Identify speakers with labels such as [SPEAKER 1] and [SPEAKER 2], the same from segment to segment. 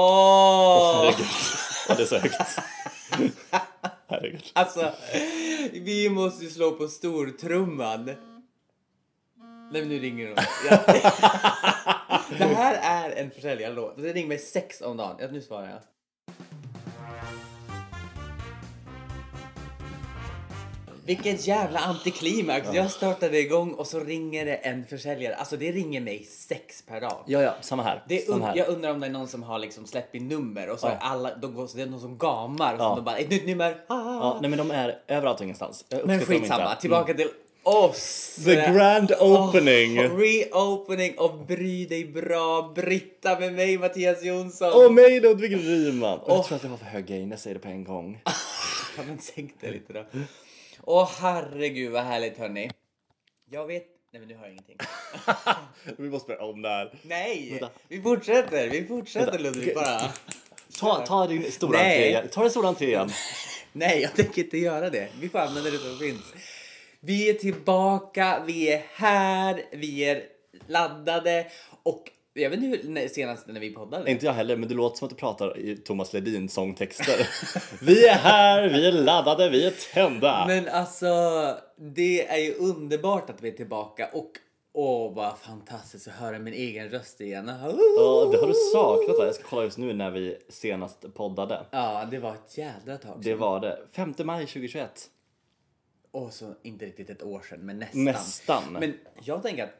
[SPEAKER 1] Åh!
[SPEAKER 2] Herregud. Ja, det är så högt. Herregud.
[SPEAKER 1] Alltså, vi måste ju slå på stortrumman. Nej, men nu ringer de. Ja. Det här är en försäljarlåt. Det ringer mig sex om dagen. Ja, nu svarar jag. Vilket jävla antiklimax! Jag startade igång och så ringer det en försäljare. Alltså det ringer mig sex per dag.
[SPEAKER 2] Ja, ja, samma här.
[SPEAKER 1] Det är
[SPEAKER 2] samma
[SPEAKER 1] un-
[SPEAKER 2] här.
[SPEAKER 1] jag undrar om det är någon som har liksom släppt in nummer och så
[SPEAKER 2] Ja.
[SPEAKER 1] är alla, de går, så det är någon som gamar och
[SPEAKER 2] Ja.
[SPEAKER 1] så de bara ett nytt nummer. Ah.
[SPEAKER 2] Ja, nej men de är överallt och ingenstans. Jag
[SPEAKER 1] Men
[SPEAKER 2] uppskattar dem
[SPEAKER 1] skitsamma,
[SPEAKER 2] inte.
[SPEAKER 1] tillbaka till oss!
[SPEAKER 2] Mm. The grand opening!
[SPEAKER 1] Oh, reopening av Bry dig bra Britta med mig Mattias Jonsson!
[SPEAKER 2] Och mig Ludvig Ryman! Och
[SPEAKER 1] Åh.
[SPEAKER 2] jag tror att jag har för hög gain, jag säger det på en gång.
[SPEAKER 1] Ja, men sänk det lite då. Åh herregud vad härligt hörni. Jag vet... Nej men nu hör jag ingenting.
[SPEAKER 2] Vi måste börja om där.
[SPEAKER 1] Nej! Vi fortsätter, vi fortsätter Ludvig bara.
[SPEAKER 2] Ta, ta din stora
[SPEAKER 1] Nej.
[SPEAKER 2] entré igen. Ta den stora entré igen.
[SPEAKER 1] Nej, jag tänker inte göra det. Vi får använda det som finns. Vi är tillbaka, vi är här, vi är laddade och jag vet inte hur när- senast när vi poddade.
[SPEAKER 2] Inte jag heller, men det låter som att du pratar i Thomas Ledin sångtexter. vi är här, vi är laddade, vi är tända!
[SPEAKER 1] Men alltså, det är ju underbart att vi är tillbaka och åh vad fantastiskt att höra min egen röst igen.
[SPEAKER 2] Ja, det har du saknat va? Jag ska kolla just nu när vi senast poddade.
[SPEAKER 1] Ja, det var ett jädra tag
[SPEAKER 2] Det
[SPEAKER 1] sedan.
[SPEAKER 2] var det. 5 maj 2021.
[SPEAKER 1] Och så inte riktigt ett år sedan, men nästan.
[SPEAKER 2] Nästan.
[SPEAKER 1] Men jag tänker att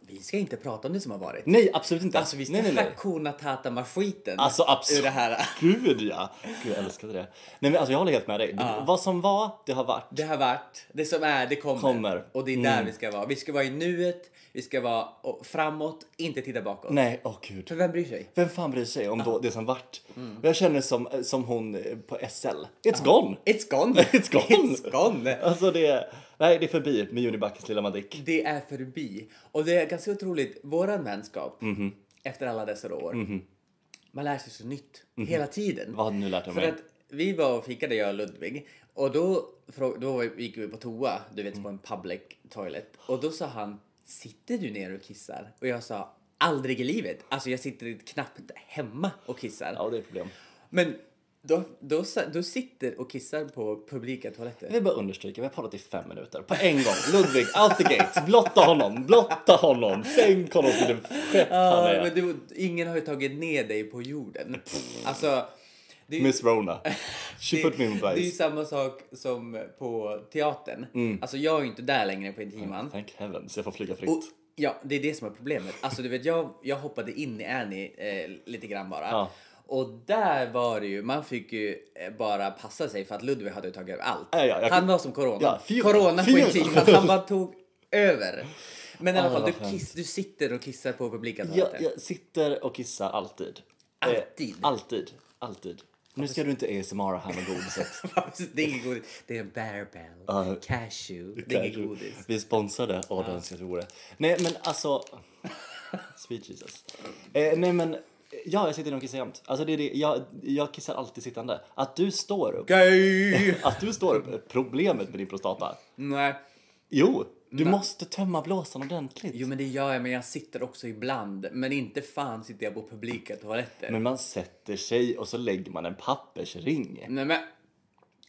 [SPEAKER 1] vi ska inte prata om det som har varit.
[SPEAKER 2] Nej, absolut inte.
[SPEAKER 1] Alltså vi ska
[SPEAKER 2] nej, nej, nej.
[SPEAKER 1] Hakuna Tatama-skiten
[SPEAKER 2] Alltså
[SPEAKER 1] ur
[SPEAKER 2] absolut.
[SPEAKER 1] det här.
[SPEAKER 2] Gud ja! Gud, jag älskade det. Nej men alltså jag håller helt med dig. Det- Vad som var, det har varit.
[SPEAKER 1] Det har varit, det som är, det kommer.
[SPEAKER 2] Kommer. Mm.
[SPEAKER 1] Och det är där vi ska vara. Vi ska vara i nuet, vi ska vara och framåt, inte titta bakåt.
[SPEAKER 2] Nej, åh gud.
[SPEAKER 1] För vem bryr sig?
[SPEAKER 2] Vem fan bryr sig om då det som vart?
[SPEAKER 1] Mm.
[SPEAKER 2] Jag känner som, eh, som hon på SL. It's gone!
[SPEAKER 1] It's gone!
[SPEAKER 2] It's gone.
[SPEAKER 1] It's gone!
[SPEAKER 2] Alltså det, nej det är förbi med Junibackens lilla Madick.
[SPEAKER 1] Det är förbi. Och det är ganska otroligt, våran vänskap
[SPEAKER 2] Mhm.
[SPEAKER 1] efter alla dessa år. Man lär sig så nytt
[SPEAKER 2] Mhm.
[SPEAKER 1] hela tiden.
[SPEAKER 2] Vad har du nu lärt dig om
[SPEAKER 1] För
[SPEAKER 2] mig?
[SPEAKER 1] att vi var och fikade jag och Ludvig och då, frå- då gick vi på toa, du vet på en public toilet och då sa han sitter du ner och kissar? Och jag sa aldrig i livet, alltså jag sitter knappt hemma och kissar.
[SPEAKER 2] Ja, det är ett problem.
[SPEAKER 1] Men då, då, sa- då sitter och kissar på publika
[SPEAKER 2] Jag
[SPEAKER 1] toaletter.
[SPEAKER 2] vill bara understryka, vi har pratat i fem minuter. På en gång. Ludvig, out the gates. Blotta honom, blotta honom. Sänk honom till det skepp han
[SPEAKER 1] Ja,
[SPEAKER 2] är.
[SPEAKER 1] men du, ingen har ju tagit ner dig på jorden. Alltså, det är ju-
[SPEAKER 2] Miss Rona. She put me in
[SPEAKER 1] Det är ju
[SPEAKER 2] place.
[SPEAKER 1] samma sak som på teatern. Alltså jag är ju inte där längre på intiman.
[SPEAKER 2] Thank heavens, jag får flyga fritt.
[SPEAKER 1] Och, ja, det är det som är problemet. Alltså du vet, jag, jag hoppade in i Annie eh, lite grann bara.
[SPEAKER 2] Ja.
[SPEAKER 1] Och där var det ju, man fick ju eh, bara passa sig för att Ludvig hade ju tagit över allt.
[SPEAKER 2] Ja, ja, jag-
[SPEAKER 1] Han var som corona.
[SPEAKER 2] Ja, fyra-
[SPEAKER 1] corona på
[SPEAKER 2] fyra.
[SPEAKER 1] intiman, han bara tog över. Men i alla
[SPEAKER 2] Ah,
[SPEAKER 1] fall,
[SPEAKER 2] vad
[SPEAKER 1] du,
[SPEAKER 2] skönt.
[SPEAKER 1] kiss, du sitter och kissar på publika
[SPEAKER 2] Jag,
[SPEAKER 1] toaletten.
[SPEAKER 2] jag sitter och kissar alltid.
[SPEAKER 1] Alltid? Alltså-
[SPEAKER 2] Eh, alltid. Alltid. Nu ska du inte ASMR här med godiset.
[SPEAKER 1] Det är inget godis. Det är en bear bell, cashew, det är inget godis.
[SPEAKER 2] Vi är sponsrade. Åh, det önskar jag att det vore. Nej, men alltså... Sweet Jesus. Eh, nej, men... Ja, jag sitter nog och kissar jämt. Alltså, det är det. Jag, jag kissar alltid sittande. Att du står upp.
[SPEAKER 1] Gay!
[SPEAKER 2] Att du står upp är problemet med din prostata.
[SPEAKER 1] Nej.
[SPEAKER 2] Jo, du måste tömma blåsan ordentligt.
[SPEAKER 1] Jo men det gör jag, men jag sitter också ibland. Men inte fan sitter jag på publika toaletter.
[SPEAKER 2] Men man sätter sig och så lägger man en pappersring.
[SPEAKER 1] Nej men...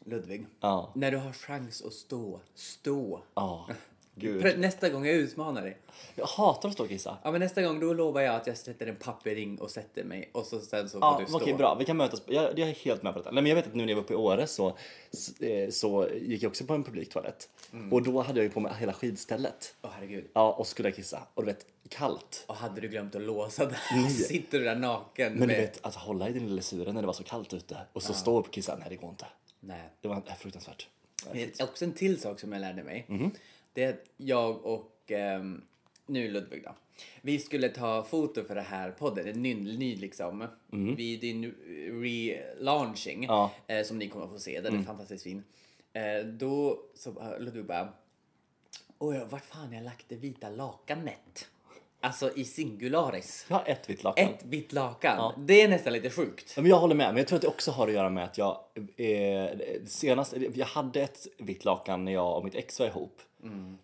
[SPEAKER 1] Ludvig.
[SPEAKER 2] Ja.
[SPEAKER 1] När du har chans att stå, stå.
[SPEAKER 2] Ja. Gud.
[SPEAKER 1] Prö- Nästa gång jag utmanar dig.
[SPEAKER 2] Jag hatar att stå och kissa.
[SPEAKER 1] Ja men nästa gång då lovar jag att jag sätter en pappering och sätter mig och så sen så får
[SPEAKER 2] Ja,
[SPEAKER 1] du
[SPEAKER 2] okej
[SPEAKER 1] stå.
[SPEAKER 2] bra. Vi kan mötas. Jag, jag är helt med på detta. Nej, men jag vet att nu när jag var uppe i Åre så, så, eh, så gick jag också på en publiktoalett. Och då hade jag ju på mig hela skidstället.
[SPEAKER 1] Mm. Åh herregud.
[SPEAKER 2] Ja, och skulle kissa. Och du vet, kallt.
[SPEAKER 1] Och hade du glömt att låsa där? Sitter du där naken
[SPEAKER 2] Men
[SPEAKER 1] med...
[SPEAKER 2] du vet, att hålla i din lilla syra när det var så kallt ute och så stå upp och kissa. Nej, det går inte.
[SPEAKER 1] Nej.
[SPEAKER 2] Det var eh, fruktansvärt.
[SPEAKER 1] Det är Eh, också en till sak som jag lärde mig.
[SPEAKER 2] Mhm.
[SPEAKER 1] Det är att jag och ehm, nu Ludvig då. Vi skulle ta foto för det här podden, en ny, ny liksom. Vi, det är en relaunching
[SPEAKER 2] Mhm. Ja. Mm.
[SPEAKER 1] eh, som ni kommer att få se. Den är fantastiskt fin. Eh, då så bara- Ludvig bara. Oj, vart fan har jag lagt det vita lakanet? Alltså i singularis.
[SPEAKER 2] Jag har ett vitt lakan.
[SPEAKER 1] Ett vitt lakan. Det är nästan lite sjukt.
[SPEAKER 2] Ja, Men jag håller med, men jag tror att det också har att göra med att jag eh, senast, jag hade ett vitt lakan när jag och mitt ex var ihop.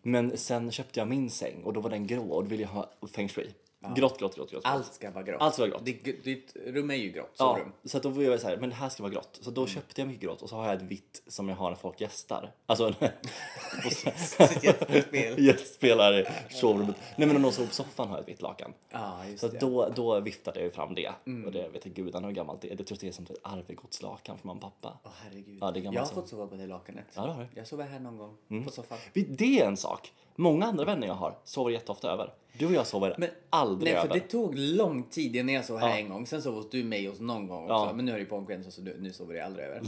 [SPEAKER 2] Men sen köpte jag min säng och då var den grå och då ville jag ha feng shui. Grått, grått, grått, grått.
[SPEAKER 1] Allt ska vara grått.
[SPEAKER 2] Allt ska vara grått.
[SPEAKER 1] Ditt, ditt rum är ju grått
[SPEAKER 2] ja,
[SPEAKER 1] sovrum.
[SPEAKER 2] så att då var jag så här, men det här ska vara grått. Så då
[SPEAKER 1] Mm.
[SPEAKER 2] köpte jag mycket grått och så har jag ett vitt som jag har när folk gästar. Alltså, och så-
[SPEAKER 1] Sitt gästspel.
[SPEAKER 2] gästspelare i sovrummet. Nej men om någon sover på soffan har jag ett vitt lakan.
[SPEAKER 1] Ja, just
[SPEAKER 2] Så
[SPEAKER 1] det. Mm.
[SPEAKER 2] att då, då viftade jag ju fram det. Och det vet jag gudarna hur gammalt det är. Det tror jag det är som ett arvegodslakan från mamma och pappa.
[SPEAKER 1] Åh, herregud.
[SPEAKER 2] Ja, det är gammalt
[SPEAKER 1] jag har
[SPEAKER 2] som-
[SPEAKER 1] fått sova på det lakanet.
[SPEAKER 2] Ja, det har du.
[SPEAKER 1] Jag sover här någon gång på soffan.
[SPEAKER 2] Vi- Det är en sak. Många andra vänner jag har sover jätteofta över. Du och jag sover
[SPEAKER 1] Men-
[SPEAKER 2] aldrig
[SPEAKER 1] Nej, för
[SPEAKER 2] över.
[SPEAKER 1] det tog lång tid innan jag sov här
[SPEAKER 2] Ja.
[SPEAKER 1] en gång. Sen sov hos du mig hos någon gång också.
[SPEAKER 2] Ja.
[SPEAKER 1] Men nu har du pågått så du, nu sover jag aldrig över.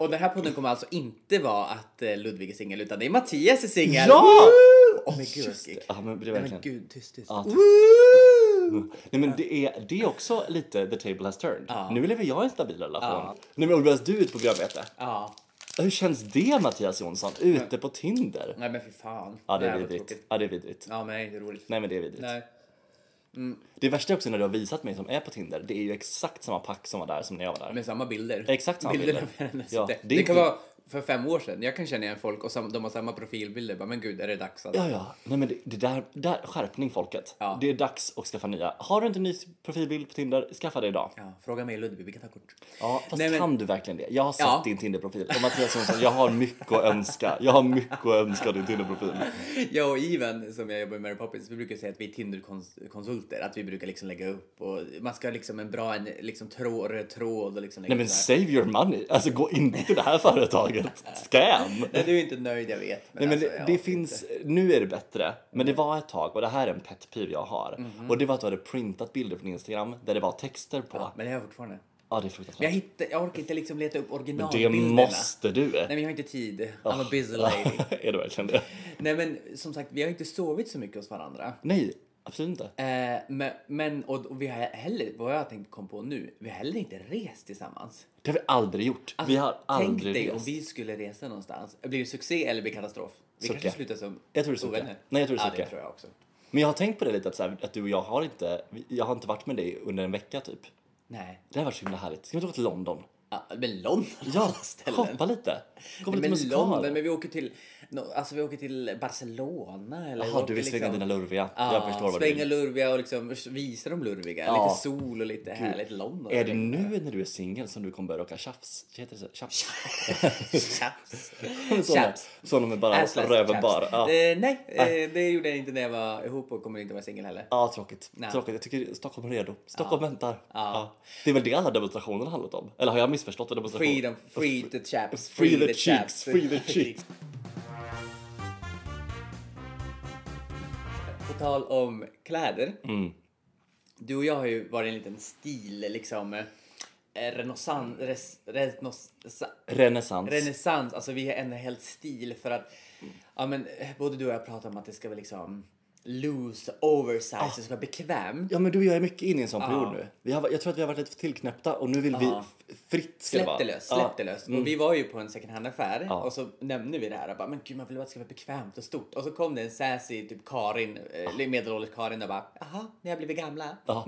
[SPEAKER 1] och den här podden kommer alltså inte vara att eh, Ludvig är singel utan det är Mattias är singel.
[SPEAKER 2] Ja!
[SPEAKER 1] Woo! Oh, men gud,
[SPEAKER 2] Just
[SPEAKER 1] Just
[SPEAKER 2] det. Ja, men det
[SPEAKER 1] Nej,
[SPEAKER 2] är
[SPEAKER 1] men
[SPEAKER 2] verkligen.
[SPEAKER 1] gud, tyst, tyst.
[SPEAKER 2] Ja, tyst.
[SPEAKER 1] Woo!
[SPEAKER 2] Nej men det är, det är också lite the table has turned.
[SPEAKER 1] Ja.
[SPEAKER 2] Nu lever jag i en stabil relation.
[SPEAKER 1] Ja.
[SPEAKER 2] Nej men Olivia, du är ute på grönbete.
[SPEAKER 1] Ja.
[SPEAKER 2] Hur känns det Mattias Jonsson? Ute på Tinder?
[SPEAKER 1] Nej men fy fan.
[SPEAKER 2] Ja det är
[SPEAKER 1] här var
[SPEAKER 2] vidrigt.
[SPEAKER 1] tråkigt.
[SPEAKER 2] Ja det är vidrigt.
[SPEAKER 1] Ja, nej, det är roligt.
[SPEAKER 2] Nej men det är vidrigt.
[SPEAKER 1] Nej.
[SPEAKER 2] Det värsta är också när du har visat mig som är på Tinder, det är ju exakt samma pack som var där som när jag var där.
[SPEAKER 1] Med samma bilder.
[SPEAKER 2] Exakt samma
[SPEAKER 1] bilder.
[SPEAKER 2] bilder.
[SPEAKER 1] av varandra. Så
[SPEAKER 2] Ja,
[SPEAKER 1] det,
[SPEAKER 2] det
[SPEAKER 1] det,
[SPEAKER 2] är
[SPEAKER 1] kan
[SPEAKER 2] inte-
[SPEAKER 1] vara för fem år sedan. Jag kan känna igen folk och sam, de har samma profilbilder. Bara, men gud, är det dags att...
[SPEAKER 2] Ja, ja. Nej men det, det där, där, skärpning folket.
[SPEAKER 1] Ja.
[SPEAKER 2] Det är dags att skaffa nya. Har du inte en ny profilbild på Tinder, skaffa det idag.
[SPEAKER 1] Ja, fråga mig Ludvig, vi kan ta kort.
[SPEAKER 2] Ja, fast
[SPEAKER 1] Nej, men-
[SPEAKER 2] kan du verkligen det? Jag har sett
[SPEAKER 1] Ja.
[SPEAKER 2] din Tinder-profil. Och Mattias Jonsson, jag har mycket att önska. Jag har mycket att önska av din Tinder-profil.
[SPEAKER 1] Jag och Ivan som jag jobbar med Mary Poppins, vi brukar säga att vi är Tinder-konsulter. Att vi brukar liksom lägga upp och man ska ha liksom en bra en, liksom tråd, röd tråd och liksom lägga
[SPEAKER 2] Nej men
[SPEAKER 1] upp så här.
[SPEAKER 2] save your money. Alltså gå inte till det här företaget. Scam!
[SPEAKER 1] Nej, du är inte nöjd, jag vet.
[SPEAKER 2] Nej, men
[SPEAKER 1] alltså,
[SPEAKER 2] det,
[SPEAKER 1] jag
[SPEAKER 2] det
[SPEAKER 1] orkar
[SPEAKER 2] finns,
[SPEAKER 1] inte.
[SPEAKER 2] nu är det bättre, men det var ett tag och det här är en pet peeve jag har.
[SPEAKER 1] Mhm.
[SPEAKER 2] Och det var att du hade printat bilder från Instagram där det var texter på. Ja,
[SPEAKER 1] Men det har jag fortfarande.
[SPEAKER 2] det är
[SPEAKER 1] Men
[SPEAKER 2] fruktansvärt.
[SPEAKER 1] jag, hittar, jag orkar inte liksom leta upp
[SPEAKER 2] Det
[SPEAKER 1] originalbilderna.
[SPEAKER 2] måste du!
[SPEAKER 1] Nej, men jag har inte tid. I'm a busy lady.
[SPEAKER 2] är det verkligen det?
[SPEAKER 1] Nej, men som sagt, vi har inte sovit så mycket hos varandra.
[SPEAKER 2] Nej, absolut inte.
[SPEAKER 1] Eh, men, men och, och vi har heller, vad jag tänkt kom på nu, vi har heller inte rest tillsammans.
[SPEAKER 2] Det har vi aldrig gjort. vi har
[SPEAKER 1] Alltså, Tänk
[SPEAKER 2] aldrig
[SPEAKER 1] dig om
[SPEAKER 2] rest.
[SPEAKER 1] vi skulle resa någonstans. Blir det succé eller blir det katastrof? Vi
[SPEAKER 2] Sucka.
[SPEAKER 1] kanske slutar som
[SPEAKER 2] Jag tror det är sucka.
[SPEAKER 1] ovänner.
[SPEAKER 2] Nej, jag tror det är
[SPEAKER 1] Ja,
[SPEAKER 2] sucka.
[SPEAKER 1] det tror jag också.
[SPEAKER 2] Men jag har tänkt på det lite, att, så här, att du och jag har inte, jag har inte varit med dig under en vecka typ.
[SPEAKER 1] Nej.
[SPEAKER 2] Det har varit så himla härligt. Ska vi inte gå till London?
[SPEAKER 1] Ja, men London
[SPEAKER 2] Ja,
[SPEAKER 1] alla ställen.
[SPEAKER 2] shoppa lite. Gå på lite
[SPEAKER 1] Men
[SPEAKER 2] musikal.
[SPEAKER 1] London, men vi åker till, no, alltså vi åker till Barcelona eller... vi
[SPEAKER 2] Jaha,
[SPEAKER 1] åker liksom-
[SPEAKER 2] du vill svänga dina lurviga. jag förstår vad du
[SPEAKER 1] svänga
[SPEAKER 2] vill.
[SPEAKER 1] lurviga och liksom visa de lurviga.
[SPEAKER 2] Ja.
[SPEAKER 1] Lite sol och lite härligt London.
[SPEAKER 2] Är det nu när du är singel som du kommer börja röka tjafs? Heter det så? Tjafs?
[SPEAKER 1] Chaps.
[SPEAKER 2] Sådana,
[SPEAKER 1] Chaps.
[SPEAKER 2] sådana med bara
[SPEAKER 1] Assless
[SPEAKER 2] röven
[SPEAKER 1] chaps.
[SPEAKER 2] bar. Ja.
[SPEAKER 1] Eh, nej, eh, det gjorde jag inte när jag var ihop och kommer inte vara singel heller.
[SPEAKER 2] Ja, tråkigt.
[SPEAKER 1] Nej.
[SPEAKER 2] tråkigt. Jag tycker Stockholm är redo. Stockholm väntar. Ja. Det är väl det alla demonstrationer har handlat om? Eller har jag missförstått vad demonstrationer?
[SPEAKER 1] Freedom, free the chaps,
[SPEAKER 2] Free the cheeks, free the cheeks.
[SPEAKER 1] På tal om kläder.
[SPEAKER 2] Mm.
[SPEAKER 1] Du och jag har ju varit en liten stil, liksom eh, renässans, res, renässans,
[SPEAKER 2] Renässans.
[SPEAKER 1] renässans, alltså vi har en hel stil för att ja, men, eh, både du och jag pratar om att det ska vara liksom loose, oversized,
[SPEAKER 2] Ah.
[SPEAKER 1] det ska vara bekvämt.
[SPEAKER 2] ja, men du och jag är mycket inne i en sån period
[SPEAKER 1] Ja.
[SPEAKER 2] nu. Vi har, jag tror att vi har varit lite för tillknäppta och nu vill vi
[SPEAKER 1] Ja.
[SPEAKER 2] f- fritt ska
[SPEAKER 1] Släpp
[SPEAKER 2] vara.
[SPEAKER 1] det löst,
[SPEAKER 2] Ja. Mm.
[SPEAKER 1] släpp det löst. Och vi var ju på en second hand-affär
[SPEAKER 2] Ja.
[SPEAKER 1] och så nämnde vi det här och bara, men gud man vill ju att det ska vara bekvämt och stort. Och så kom det en sassy, typ Karin, eh, medelålders Karin och bara, jaha, ni har blivit gamla.
[SPEAKER 2] Ja.